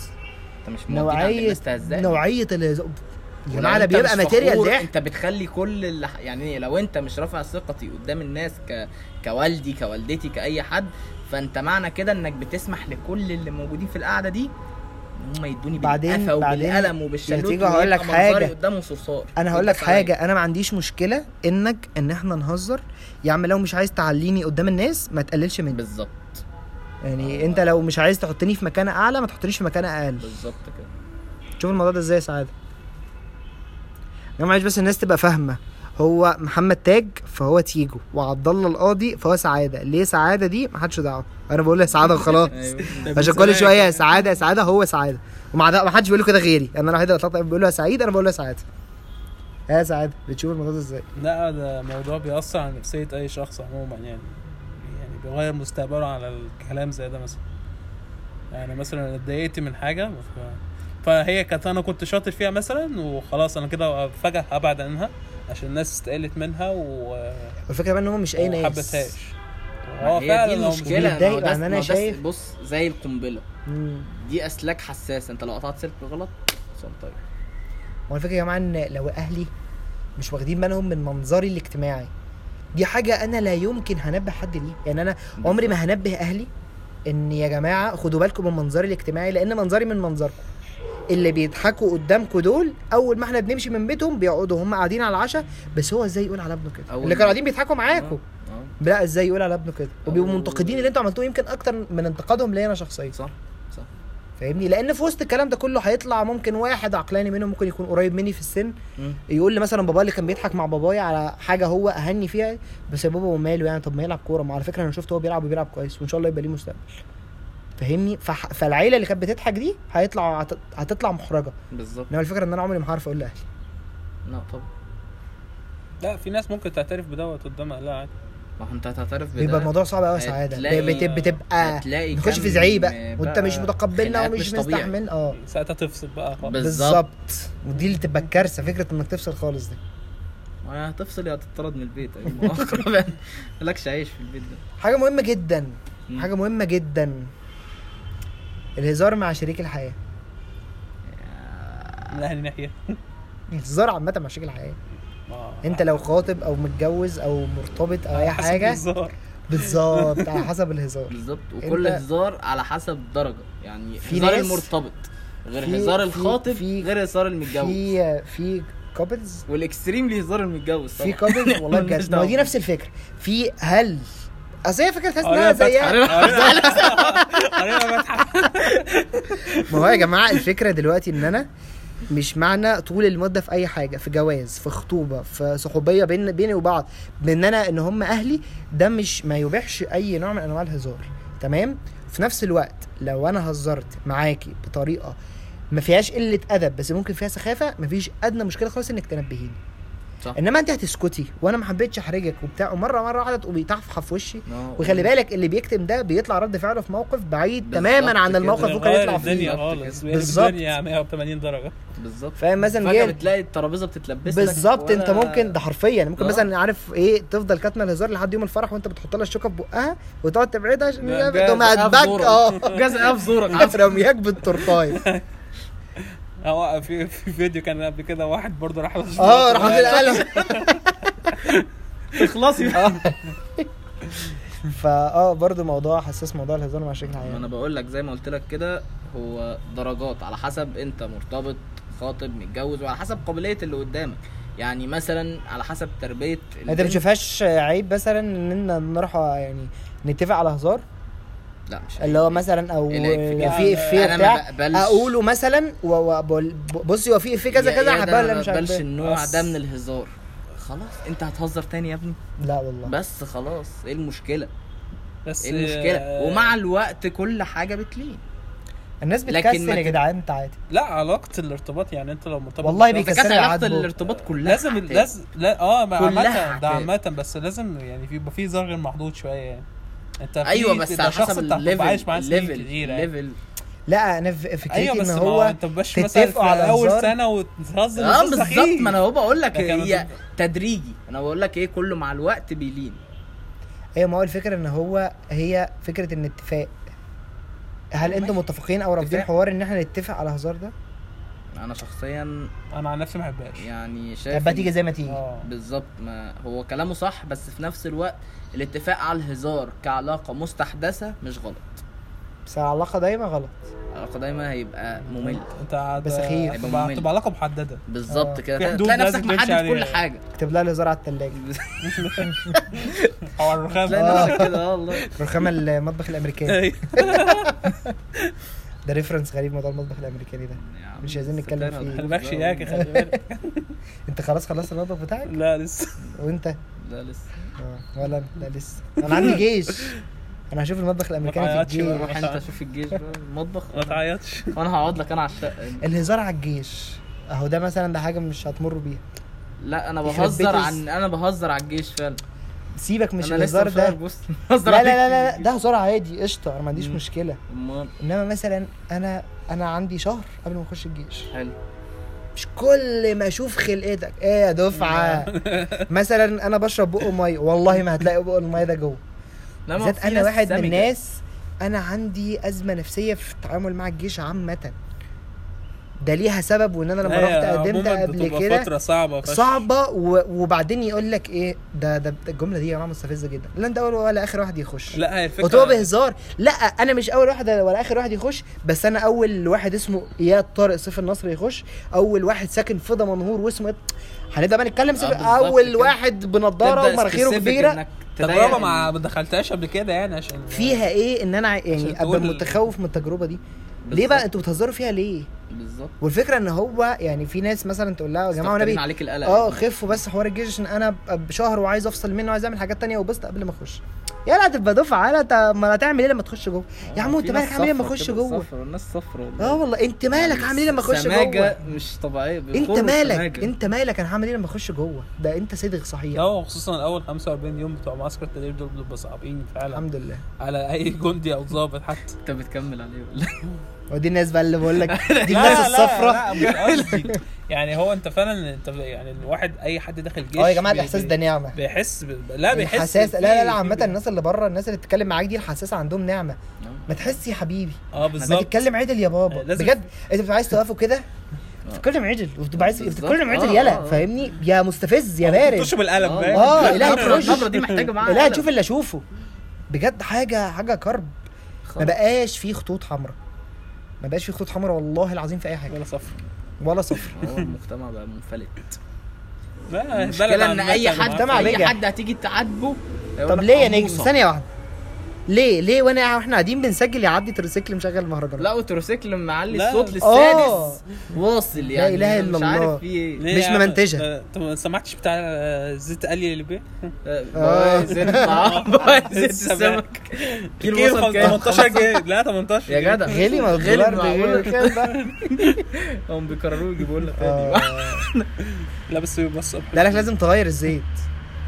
انت مش مودين عند
نوعيه
الاستهزاء
نوعيه ال يا
ولو
معلم
انت
بيبقى
مش
ماتيريال
فخور،
ضحك
انت بتخلي كل اللي ح- يعني لو انت مش رافع ثقتي قدام الناس ك... كوالدي كوالدتي كاي حد فانت معنى كده انك بتسمح لكل اللي موجودين في القعده دي ان هم يدوني
بعدين-
بالقفا
بعدين
وبالقلم وبالشلوت
نتيجة هقول
ويبقى
لك
منظري
حاجة.
قدامه صرصار
انا هقول لك
وبس عليا.
حاجه انا ما عنديش مشكله انك ان احنا نهزر يا عم لو مش عايز تعليني قدام الناس ما تقللش مني
بالظبط
يعني انت لو مش عايز تحطني في مكان اعلى ما تحطنيش في مكان اقل
بالظبط كده
شوف الموضوع ده ازاي يا سعاده يا معلش بس الناس تبقى فاهمه هو محمد تاج فهو تيجو وعبد الله القاضي فهو سعاده ليه سعاده دي ما حدش دعوه انا بقول له يا سعاده وخلاص
أيوة.
عشان كل شويه يا سعاده يا سعاده هو سعاده ومع ده ما حدش بيقول له كده غيري انا الوحيد اللي اتلطف بيقول له يا سعيد انا بقول له يا سعاده يا سعاده بتشوف الموضوع ده ازاي
لا ده موضوع بيأثر على نفسية أي شخص عموما يعني يعني بيغير مستقبله على الكلام زي ده مثلا يعني مثلا أنا اتضايقت من حاجة ف... فهي كانت أنا كنت شاطر فيها مثلا وخلاص أنا كده فجأة هبعد عنها عشان الناس استقلت منها و
والفكره بقى ان هم مش اي
وما
ناس
حبتهاش
ما
هو
هي
فعلا
دي
لو مش-
المشكله
بيتضايق
ما هو ده-
لأن أنا
ما هو ده
شايف-
بص زي القنبله
مم.
دي اسلاك حساسه انت لو قطعت سلك غلط سلك طيب
هو الفكره يا جماعه ان لو اهلي مش واخدين بالهم من منظري الاجتماعي دي حاجه انا لا يمكن هنبه حد ليه يعني انا عمري ما هنبه اهلي ان يا جماعه خدوا بالكم من منظري الاجتماعي لان منظري من منظركم اللي بيضحكوا قدامكم دول اول ما احنا بنمشي من بيتهم بيقعدوا هم قاعدين على العشاء بس هو ازاي يقول على ابنه كده
أول
اللي
ما-
كانوا قاعدين بيضحكوا معاكم
آه،
لا ازاي يقول على ابنه كده وبيبقوا
أول-
منتقدين اللي انتوا عملتوه يمكن اكتر من انتقادهم ليا انا شخصيا
آه، صح صح
فاهمني لان في وسط الكلام ده كله هيطلع ممكن واحد عقلاني منهم ممكن يكون قريب مني في السن
مم.
يقول لي مثلا بابا اللي كان بيضحك مع بابايا على حاجه هو اهني فيها بس يا بابا وماله يعني طب ما يلعب كوره ما على فكره انا شفت هو بيلعب وبيلعب كويس وان شاء الله يبقى ليه مستقبل فاهمني فح... فالعيله اللي كانت بتضحك دي هيطلع هت... هتطلع محرجه
بالظبط
انما الفكره ان انا عمري ما هعرف اقول لاهلي
لا طبعا
لا في ناس ممكن تعترف بدوت قدام اهلها عادي
ما هو انت هتعترف بده
بيبقى الموضوع صعب قوي يا سعاده
إيه هتلاقي-
بتب... بتبقى
هتلاقي
بتخش
كم
آه، في زعيبه وانت
بقى
مش متقبلنا
خناقات
ومش
مش طبيعي.
مستحمل اه
ساعتها تفصل بقى خالص
بس-
بالظبط
بالظبط.
ودي اللي تبقى الكارثه فكره انك تفصل خالص دي
ما هتفصل يا هتطرد من البيت أيوة، ما هو أقرب يعني. مالكش عايش في البيت ده
حاجه مهمه جدا
مم.
حاجه مهمه جدا الهزار مع شريك الحياه
من اهل ناحيه
الهزار عامه مع شريك الحياه
ما-
انت لو خاطب او متجوز او مرتبط او اي
حسب
حاجه
الهزار.
بالظبط على حسب الهزار
بالظبط وكل
أنت-
هزار على حسب درجه يعني
في
هزار
ناس-
المرتبط غير
في-
هزار
في-
الخاطب
في-
غير هزار المتجوز
في في كابلز
والاكستريم ليه هزار المتجوز
في
طبعا
كابلز والله
مالناش
بجد ما هو دي
دعوة. آه،
نفس الفكره في هل اصل هي فكره تحس انها
قرينا فتحة.
زيها
قرينا قرينا فتحة.
ما هو يا جماعه الفكره دلوقتي ان انا مش معنى طول المده في اي حاجه في جواز في خطوبه في صحوبيه بين بيني وبعض بان انا ان هم اهلي ده مش ما يبيحش اي نوع من انواع الهزار تمام في نفس الوقت لو انا هزرت معاكي بطريقه ما فيهاش قله ادب بس ممكن فيها سخافه مفيش ادنى مشكله خالص انك تنبهيني
صح.
انما انت هتسكتي وانا ما حبيتش احرجك وبتاع ومره مره واحده تقومي تحفحف في وشي
آه،
وخلي بالك اللي بيكتم ده بيطلع رد فعله في موقف بعيد
بالظبط
تماما عن
كده.
الموقف اللي ممكن
غير
يطلع فيه
الدنيا
بالظبط
خالص
كده.
غير
بالظبط.
الدنيا 180 درجه
بالظبط
فاهم مثلا
فجاه
جه
بتلاقي الترابيزه بتتلبس لك
بالظبط انت
ولا-
ممكن ده حرفيا ممكن
آه.
مثلا عارف ايه تفضل كاتمه الهزار لحد يوم الفرح وانت بتحط لها الشوكه في بقها وتقعد تبعدها عشان
لا، جاز
تقوم
قاف
هتبك
زورك.
اه
جاز قاف زورك
عفره مياك بالتورتايه
هو في في فيديو كان قبل كده واحد برضه راح
اه راح في القلم
اخلصي
اه. فاه برضه آه، موضوع حساس موضوع الهزار مع شريك
ما انا
الحياه
بقول لك زي ما قلت لك كده هو درجات على حسب انت مرتبط خاطب متجوز وعلى حسب قابليه اللي قدامك يعني مثلا على حسب تربيه
انت ما
البنت.
بتشوفهاش عيب مثلا ان إن نروح يعني نتفق على هزار
لا مش
اللي هو مثلا او
الإفيه.
يا في افيه
أنا ما
بتاع
بقبلش.
اقوله مثلا و- وأقول- بصي هو في افيه كذا
يا- يا
كذا
ده
هبقى
ما
مش
بقبلش
عارف إيه.
النوع
بس.
ده من الهزار خلاص انت هتهزر تاني يا ابني
لا والله
بس خلاص ايه المشكله
بس
ايه المشكله
آه،
ومع الوقت كل حاجه بتلين
الناس
لكن
بتكسل
ما
يا
ت-
جدعان انت عادي
لا علاقه الارتباط يعني انت لو مرتبط
والله
بشخص-
بيك-
فكانت
سريع
علاقه
عاتبه.
الارتباط كلها
لازم
هتقل.
لازم لا اه ما
كلها
عامه ده
هتقل.
عامه بس لازم يعني في يبقى في زر غير محدود شويه يعني انت في-
ايوه بس
ده
على
شخص
حسب
انت هتبقى عايش معاه
الليفل
سنين
ليفل
كتير يعني.
ليفل
لا انا ف- فكرتي
ايوه بس
ان
ما
هو
انت مبقاش مثلا في
تتفقوا على
اول
هزار.
سنه وتهزر
اه
وتهزر
بالظبط
خفيف.
ما انا هو بقول لك
لكن
هي
ما
تدريجي انا بقول لك ايه كله مع الوقت بيلين
هي ما هو الفكره ان هو هي فكره ان اتفاق هل انتوا
ماشي.
متفقين او رافضين
اتفاق.
حوار ان احنا نتفق على هزار ده؟
انا شخصيا
انا عن نفسي ما بحبهاش
يعني شايف
تبقى
إن-
تيجي زي ما تيجي
اه
بالظبط ما هو كلامه صح بس في نفس الوقت الاتفاق على الهزار كعلاقه مستحدثه مش غلط
بس العلاقه دايما غلط
العلاقه دايما هيبقى ممل
انت هت-
بس خير.
هتبقى
ممل.
هتبقى علاقه محدده
بالظبط
آه.
كده
في
تلاقي-
حدود
تلاقي
لازم
نفسك
تمشي
محدد كل
عليها. آه.
حاجه
اكتب لها الهزار على الثلاجه
او على الرخام
تلاقي
آه.
نفسك كده آه، والله
رخام المطبخ الامريكاني
ايوه.
ده ريفرنس غريب موضوع المطبخ الامريكاني ده
يعني
مش عايزين نتكلم
سترها.
فيه.
ما تبخش ياكي خلي بالك
انت خلاص خلصت المطبخ بتاعك
لا لسه
وانت
لا لسه
آه، ولا أنا. لا لسه انا عندي جيش انا هشوف المطبخ الامريكاني
تعيطش
في
بقى.
الجيش
روح انت شوف الجيش بقى، المطبخ
ما تعيطش
وانا هقعد لك انا على الشقه
الهزار على الجيش اهو ده مثلا ده حاجه مش هتمر بيها
لا انا
يخرب
بهزر
بيت
عن انا بهزر على الجيش فعلا
سيبك مش
انا لسه
الهزار ده
مشاهير، بص بهزر
لا لا
عليك.
لا لا ده هزار عادي قشطه انا ما عنديش
مم.
مشكله
امال
انما مثلا انا انا عندي شهر قبل ما اخش الجيش
حلو
مش كل ما اشوف خلقتك ايه يا دفعه مثلا انا بشرب بقه ميه والله ما هتلاقي بقه الميه ده جوه
لا، ما هو
بالذات
في
انا
ناس
واحد من
سامجة.
الناس انا عندي ازمه نفسيه في التعامل مع الجيش عامه ده ليها سبب وان انا لما
هي
رحت قدمت
عموماً
قبل
بتبقى
كده
فتره صعبه فشخ.
صعبه و... وبعدين يقول لك ايه ده ده ده الجمله دي يا جماعه مستفزه جدا لا انت اول ولا اخر واحد يخش
لا هي الفكره
وتبقى بهزار لا انا مش اول واحد ولا اخر واحد يخش بس انا اول واحد اسمه اياد طارق سيف النصر يخش اول واحد ساكن في دمنهور واسمه هنبدا بقى نتكلم سيف
آه، بالظبط
اول
كده.
واحد بنضاره
تبدأ
ومناخيره
specific
كبيره
إنك تضايق
تجربه ما ما دخلتهاش قبل كده يعني عشان
فيها ايه ان انا ع-
عشان
يعني ابقى
تقول-
متخوف من التجربه دي ليه
بالظبط.
بقى انتوا بتهزروا فيها ليه
بالظبط
والفكره ان هو يعني في ناس مثلا تقول لها يا جماعه
مستكترين
ونبي
عليك القلق
اه خفوا بس حوار الجيش عشان انا ب- بشهر وعايز افصل منه وعايز اعمل حاجات تانية وبسط قبل ما اخش يا لا تبقى دفعه لا ت- ما هتعمل ايه لما تخش جوه
آه،
يا عم انت مالك عامل ايه لما اخش جوه
صفر الناس صفر والله
اه والله انت مالك عامل ايه لما اخش جوه
سماجة مش طبيعية
انت
بيخروا
مالك
سماجة.
انت مالك انا هعمل ايه لما اخش جوه ده انت صدق صحيح
اه خصوصا اول 45 يوم بتوع معسكر التدريب دول بيبقوا صعبين فعلا
الحمد لله
على اي جندي او ضابط حتى
انت بتكمل عليه ولا
ودي الناس بقى اللي بقول لك دي
لا،
الناس اه
لا،
الصفراء
لا مش قصدي يعني هو انت فعلا انت يعني الواحد اي حد داخل الجيش
اه يا جماعه
بي-
الاحساس
بي-
ده نعمه
بيحس ب... لا بيحس
الحساس لا
بفيه-
لا لا عامه
فيه-
الناس اللي بره الناس اللي بتتكلم معاك دي الحساسه عندهم نعمه ما تحس يا حبيبي
اه
ما
بالظبط
تتكلم عدل يا بابا
آه، لازم-
بجد انت بتبقى عايز توقفه كده بتتكلم عدل وبتبقى عايز
بالظبط.
بتتكلم عدل
اه،
آه،
يلا
آه.
فاهمني يا مستفز يا بارد
تشرب القلم
آه.
فاهم؟
اه
لا،
لا
النبرة-
تخش
النبرة دي محتاجة معاها
لا
قلم.
تشوف اللي اشوفه بجد حاجه حاجه كرب ما بقاش في خطوط حمراء ما بقاش في خطوط حمراء والله العظيم في اي حاجه
ولا صفر
ولا صفر
هو المجتمع بقى منفلت
لا، بلد
المشكلة ان
عامة
اي
يا
حد
جماعة.
مجتمع
اي
بيجي.
حد هتيجي تعاتبه هيقول
طب
لك
ليه يا نجم
قموصة.
ثانيه واحده ليه ليه وانا واحنا قاعدين بنسجل يعدي تريسيكل مشغل مهرجانات
لا اوتوسيكل معلي
لا.
الصوت
آه.
للسادس واصل يعني
إله إلا
مش
الله.
عارف في ايه
ليه
مش
يا عم؟
ممنتجة.
آه، انت ما سمعتش بتاع آه، زيت قلي اللي بيه
آه.
باي زيت الطعام باي زيت السمك كيلو
كيلو
وصل
خمس-
كام
18 جنيه لا 18
يا
جنيه.
جدع
غلي ما
غلي
الدولار
معقولة؟
بغير كده
هم بيكرروه يجيبوا لنا تاني
آه.
لا بس بس
لا لا لازم تغير الزيت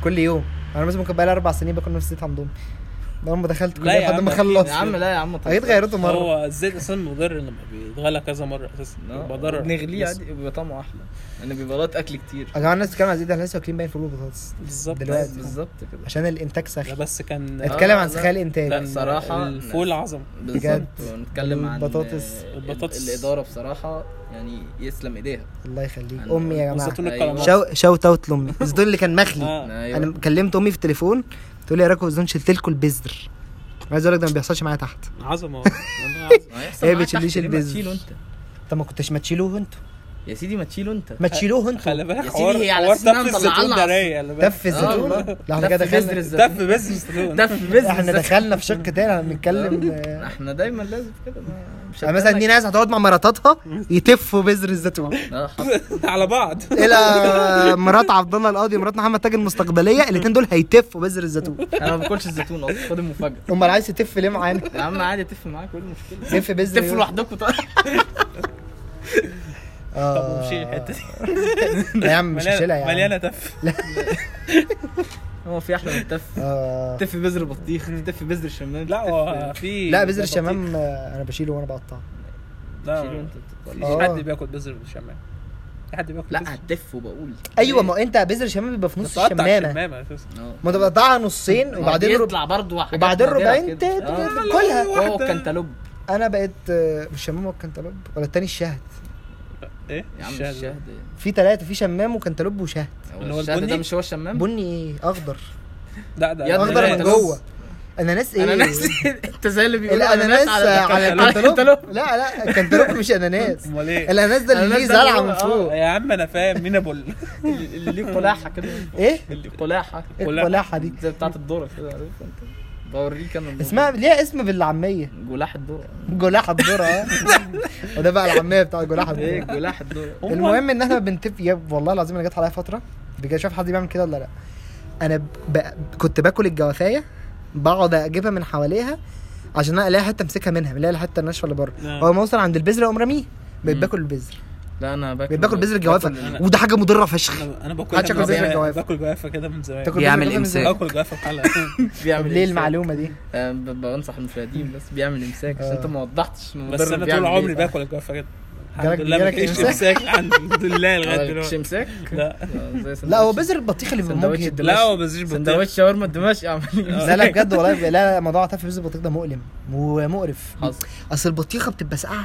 كل يوم انا مثلا ممكن بقالي اربع سنين باكل نفس الزيت عندهم من ما دخلت كل
لا يا
لحد
عم،
ما
أكيد
خلصت
يا عم لا يا عم طب
اكيد غيرته مره
هو الزيت اصلا مضر لما بيتغلى كذا مره اساسا بيبقى ضرر
نغليه
بس-
عادي بيبقى طعمه احلى لان بيبقى لقط اكل كتير
يا جماعه الناس بتتكلم عن الزيت ده احنا لسه واكلين باين فول وبطاطس
بالظبط
دلوقتي.
بالظبط كده
عشان الانتاج
لا
سخن
بس كان
اتكلم عن
لا.
سخاء الانتاج
كان
بصراحة
الفول عظم
بجد.
بالظبط ونتكلم عن
البطاطس.
ال-
البطاطس.
الاداره بصراحه يعني يسلم ايديها
الله يخليك
أنا-
امي يا جماعه
وزيتون
أيوة.
الكرامات
شو شوت اوت لامي بس دول اللي كان مخلي
آه.
انا كلمت امي في التليفون تقول لي يا راكو زون شلت لكم البذر عايز اقول لك ده ما بيحصلش معايا تحت
عظمه
هي
هي
بتشيليش البذر.
تشيله انت
طب ما كنتش ما تشيلوه انتوا
يا سيدي ما تشيله انت
ما تشيلوه انتوا
خلي بالك
يا
حوار
سيدي هي على
حوار
أساس إنها
دف
مطلعة
الزيتون
لنا
ده رايق خلي بالك
دف الزيتون
والله.
لا احنا كده
دف بذر
دخلنا
الزيتون.
دف بس الزيتون
دف بذر
احنا
الزيتون.
دخلنا في شق تاني احنا بنتكلم آه،
احنا دايما لازم كده ما- مش
يعني مثلا
هتكلم.
دي ناس هتقعد مع مراتاتها يتفوا بذر الزيتون
اه حصل.
على بعض
الى مرات عبد الله القاضي ومرات محمد تاج المستقبليه الاثنين دول هيتفوا بذر الزيتون
انا آه، ما باكلش الزيتون اصلا خد المفاجاه
امال عايز تف ليه معانا
يا عم عادي اتفق معاك وايه المشكله
تف بذر
تفلوا لوحدكم طيب
آه.
طب ومشي الحته دي
لا يا عم مش هشيلها يا عم
مليانه تف
هو في احلى من التف
آه.
تف بذر بطيخ تف بذر شمام
لا هو
تف-
في
لا بذر الشمام آه، انا بشيله وانا بقطعه
لا
شيله
ما
انت بتتولى.
فيش حد بياكل بذر بالشمام في حد بياكل
لا
بذر؟
هتف وبقول
ايوه ما هو انت بذر الشمام بيبقى في نص
بتقطع
الشمامه
الشمامه اساسا
اه.
ما انت بتقطعها نصين وبعدين رب...
يطلع برضه حاجات
وبعدين
نادرة
ربعين
كده.
ت-
اه.
ت- كلها.
هو
واحدة.
الكنتالوب
انا بقيت آه، مش شمام والكنتالوب ولا التاني الشهد
ايه
يا عم
الشهد.
الشهد ايه؟
في ثلاثه في شمام وكنتالوب وشهد
اللي هو
الشهد
البني؟
ده مش هو الشمام
بني ايه اخضر
لا ده
يا
ده-
اخضر من
ده-
الأناناس.
جوه اناناس ايه
انا ناسي انت زي اللي بيقول
الاناناس على الكنتالوب
الكنتالوب.
لا لا الكنتالوب مش اناناس
امال ايه
الاناناس ده اللي
الأناناس
ليه
ده اللي
زلعه
هو-
من
اه.
فوق
يا عم انا فاهم مينابل
اللي اللي ليه قلاحه كده
ايه
اللي قلاحه
إيه القلاحه دي
زي بتاعت الدورة كده عارف انت بوريك انا الموضوع.
اسمها ليها اسم بالعاميه
جلاح الدورة
جلاحه الذره اه وده بقى العاميه بتاع جلاحه
ايه
الذره
جلاح الدورة
هم-
المهم ان احنا بنتف يا والله العظيم انا جت عليا فتره بجد شايف حد بيعمل كده ولا لا انا ب... كنت باكل الجوافايه بقعد اجيبها من حواليها عشان انا الاقي حته امسكها منها الاقي الحته الناشفه اللي بره
نعم.
اول ما اوصل عند البذره اقوم راميه بقيت
مم.
باكل البذر
لا انا باكل
بقيت باكل بذر الجوافه
أنا-
وده حاجه مضره فشخ
انا انا باكل
محدش ياكل زي الجوافة.
باكل جوافه كده من زمان
تاكل إيه؟ بذر
بيعمل
الجوافة من
إمساك.
زمان.
باكل جوافه بحلقه
طب
بيعمل
ليه
إمساك.
المعلومه دي
آه، ب- بنصح المشاهدين بس بيعمل امساك عشان
آه.
انت ما وضحتش
بس انا طول
إيه.
عمري باكل الجوافه كده الحمد
إيه؟ جالك-
لله ما
جالك
فيش
إمساك؟
امساك الحمد لله لغايه
آه، مش آه،
دلوقتي
امساك
لا
لا هو بذر البطيخ اللي بيبقى
سندوتش
مجهد
لا هو بزيش بطيخ
سندوتش شاورما الدمشق عمال
لا لا بجد والله لا لا موضوع تف بذر البطيخ ده مؤلم ومقرف
حصل
اصل البطيخه بتبقى ساقعه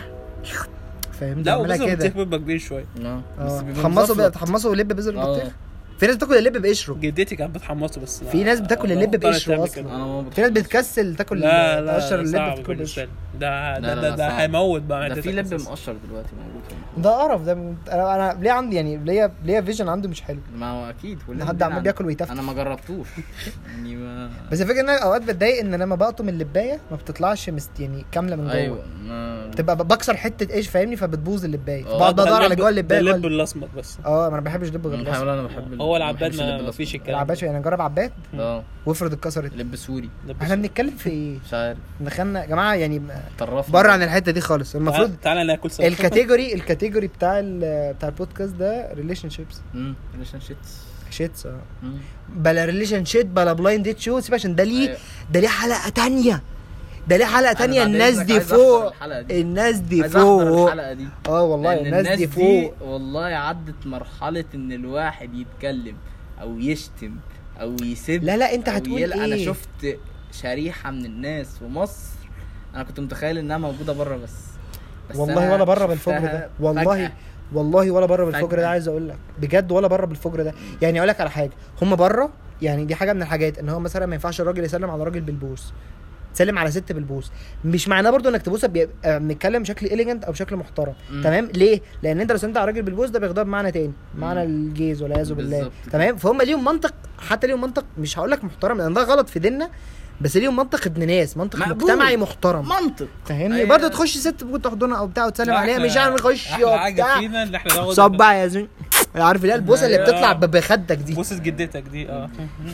فاهمني
لا هو
بيعملها كده
بزر البطيخ بيبقى كبير شويه
اه
آه.
بس بيبقى
تحمصوا بقى
مزفلط.
تحمصوا اللب بذر
آه.
البطيخ في ناس بتاكل اللب بقشره
جدتي كانت بتحمصه بس لا.
في ناس بتاكل اللب
بطلت
بقشره
تعمل
أصلاً.
كده.
انا ما
في ناس بتكسل تاكل
لا لا
تقشر
لا
اللب
صعب
بتاكل بقشره
بالنسبه لي ده
لا،
ده
لا،
ده, ده
صعب.
هيموت بقى
ده
معدتك
في لب
أساساً.
مقشر دلوقتي موجود في المحل.
ده قرف ده انا انا ليه عندي يعني ليا ليا فيجن عنده مش حلو
ما هو اكيد
ان
كلنا
حد
عندنا.
عمال بياكل ويتفتح
انا ما جربتوش يعني ما
بس الفكره ان انا اوقات بتضايق ان لما بقطم اللبايه ما بتطلعش مست يعني كامله من جوه
أيوة.
ايوه ما
تبقى ب- بكسر حته ايش فاهمني فبتبوظ اللبايه
آه.
بقعد
ده
ادور على
اللب-
جوه
ده
اللبايه جوه
اللب
ال-
الاسمر بس
اه ما انا ما بحبش اللب غير
الحمد
الأسود.
لله انا بحب ال-
هو
ما
العباد
بحبش
ما
اللب
ما
الأسمر.
فيش الكلام
العباش يعني جرب عباد
اه
وافرض اتكسرت
لب سوري
لب
احنا بنتكلم في ايه
مش عارف
دخلنا يا جماعه يعني
طرفنا
بره عن الحته دي خالص المفروض
تعال- تعالى ناكل
آه.
سوا
الكاتيجوري الكاتيجوري بتاع ال- بتاع البودكاست ده ريليشن شيبس
امم ريليشن شيتس
شيتس اه بلا ريليشن شيت بلا بلايند ديت شو سيب عشان ده ليه
أيوة.
ده ليه حلقه تانية ده ليه حلقه تانية
بعد
الناس
إذنك
دي
عايز أحضر
فوق
الحلقة دي.
الناس دي
عايز احضر
فوق
الحلقه دي
اه والله
لأن
الناس دي فوق
والله عدت مرحله ان الواحد يتكلم او يشتم او يسب
لا لا انت
أو
هتقول
يلا- انا
ايه؟
شفت شريحه من الناس في مصر انا كنت متخيل انها موجوده بره بس, بس
والله
أنا
ولا بره بالفجر
شفتها
ده والله
فجأة.
والله ولا بره بالفجر ده
فجأة.
عايز اقول لك بجد ولا بره بالفجر ده يعني اقول لك على حاجه هم بره يعني دي حاجه من الحاجات ان هو مثلا ما ينفعش الراجل يسلم على راجل بالبوس تسلم على ست بالبوس مش معناه برضو انك تبوسها بيبقى آه، بنتكلم بشكل اليجنت او بشكل محترم
مم.
تمام ليه لان انت لو سلمت على راجل بالبوس ده بياخدها بمعنى تاني معنى
مم.
الجيز والعياذ بالله
بالظبط كده.
تمام فهم ليهم منطق حتى ليهم منطق مش هقول لك محترم لان ده غلط في ديننا بس ليهم منطق ابن ناس منطق
مقبول.
مجتمعي محترم
منطق
فاهمني
أيوة.
برضه تخش ست ممكن تحضنها او بتاع وتسلم
لا،
عليها
إحنا-
مش هنخش
احلى
يا
حاجه
بتاع
فينا ان احنا ناخد
صبع يا زين عارف اللي هي البوسه اللي
أيوة.
بتطلع بخدك دي
بوسه جدتك دي اه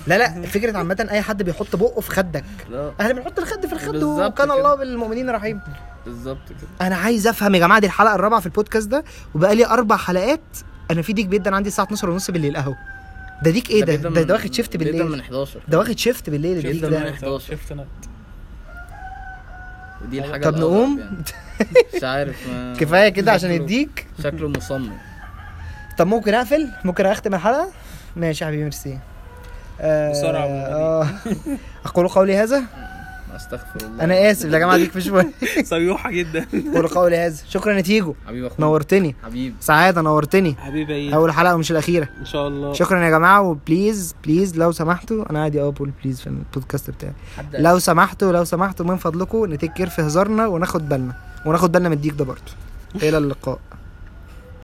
لا لا فكره عامه اي حد بيحط بقه في خدك
لا
احنا بنحط الخد في الخد
بالظبط
وكان
كده.
الله بالمؤمنين رحيم
بالظبط كده
انا عايز افهم يا جماعه دي الحلقه الرابعه في البودكاست ده وبقى لي اربع حلقات انا في ديك بيدن عندي الساعه 12 ونص بالليل اهو ده ديك ايه ده
بيبدأ
ده,
من-
ده واخد شيفت
بيبدأ من
بالليل
11
ده واخد شيفت بالليل الديك
بيبدأ
ده
من
شفت انا
ودي الحاجه
طب
الأغرب
نقوم
يعني. مش عارف ما-
كفايه كده عشان
شكله-
يديك
شكله مصمم
طب ممكن اقفل ممكن اختم الحلقه ماشي يا حبيبي ميرسي آه،
بسرعة ولا
آه. اقول قولي هذا
استغفر الله
انا اسف يا جماعه ديك في شويه
صبيحه جدا
اقول قولي هذا شكرا يا تيجو
حبيب اخويا
نورتني
حبيب
سعاده نورتني
حبيبي ايه
اول حلقه ومش الاخيره
ان شاء الله
شكرا يا جماعه وبليز بليز لو سمحتوا انا عادي اه بقول بليز في البودكاست بتاعي
حد
لو سمحتوا لو سمحتوا من فضلكم نتكر في هزارنا وناخد بالنا وناخد بالنا من الديك ده برضه الى اللقاء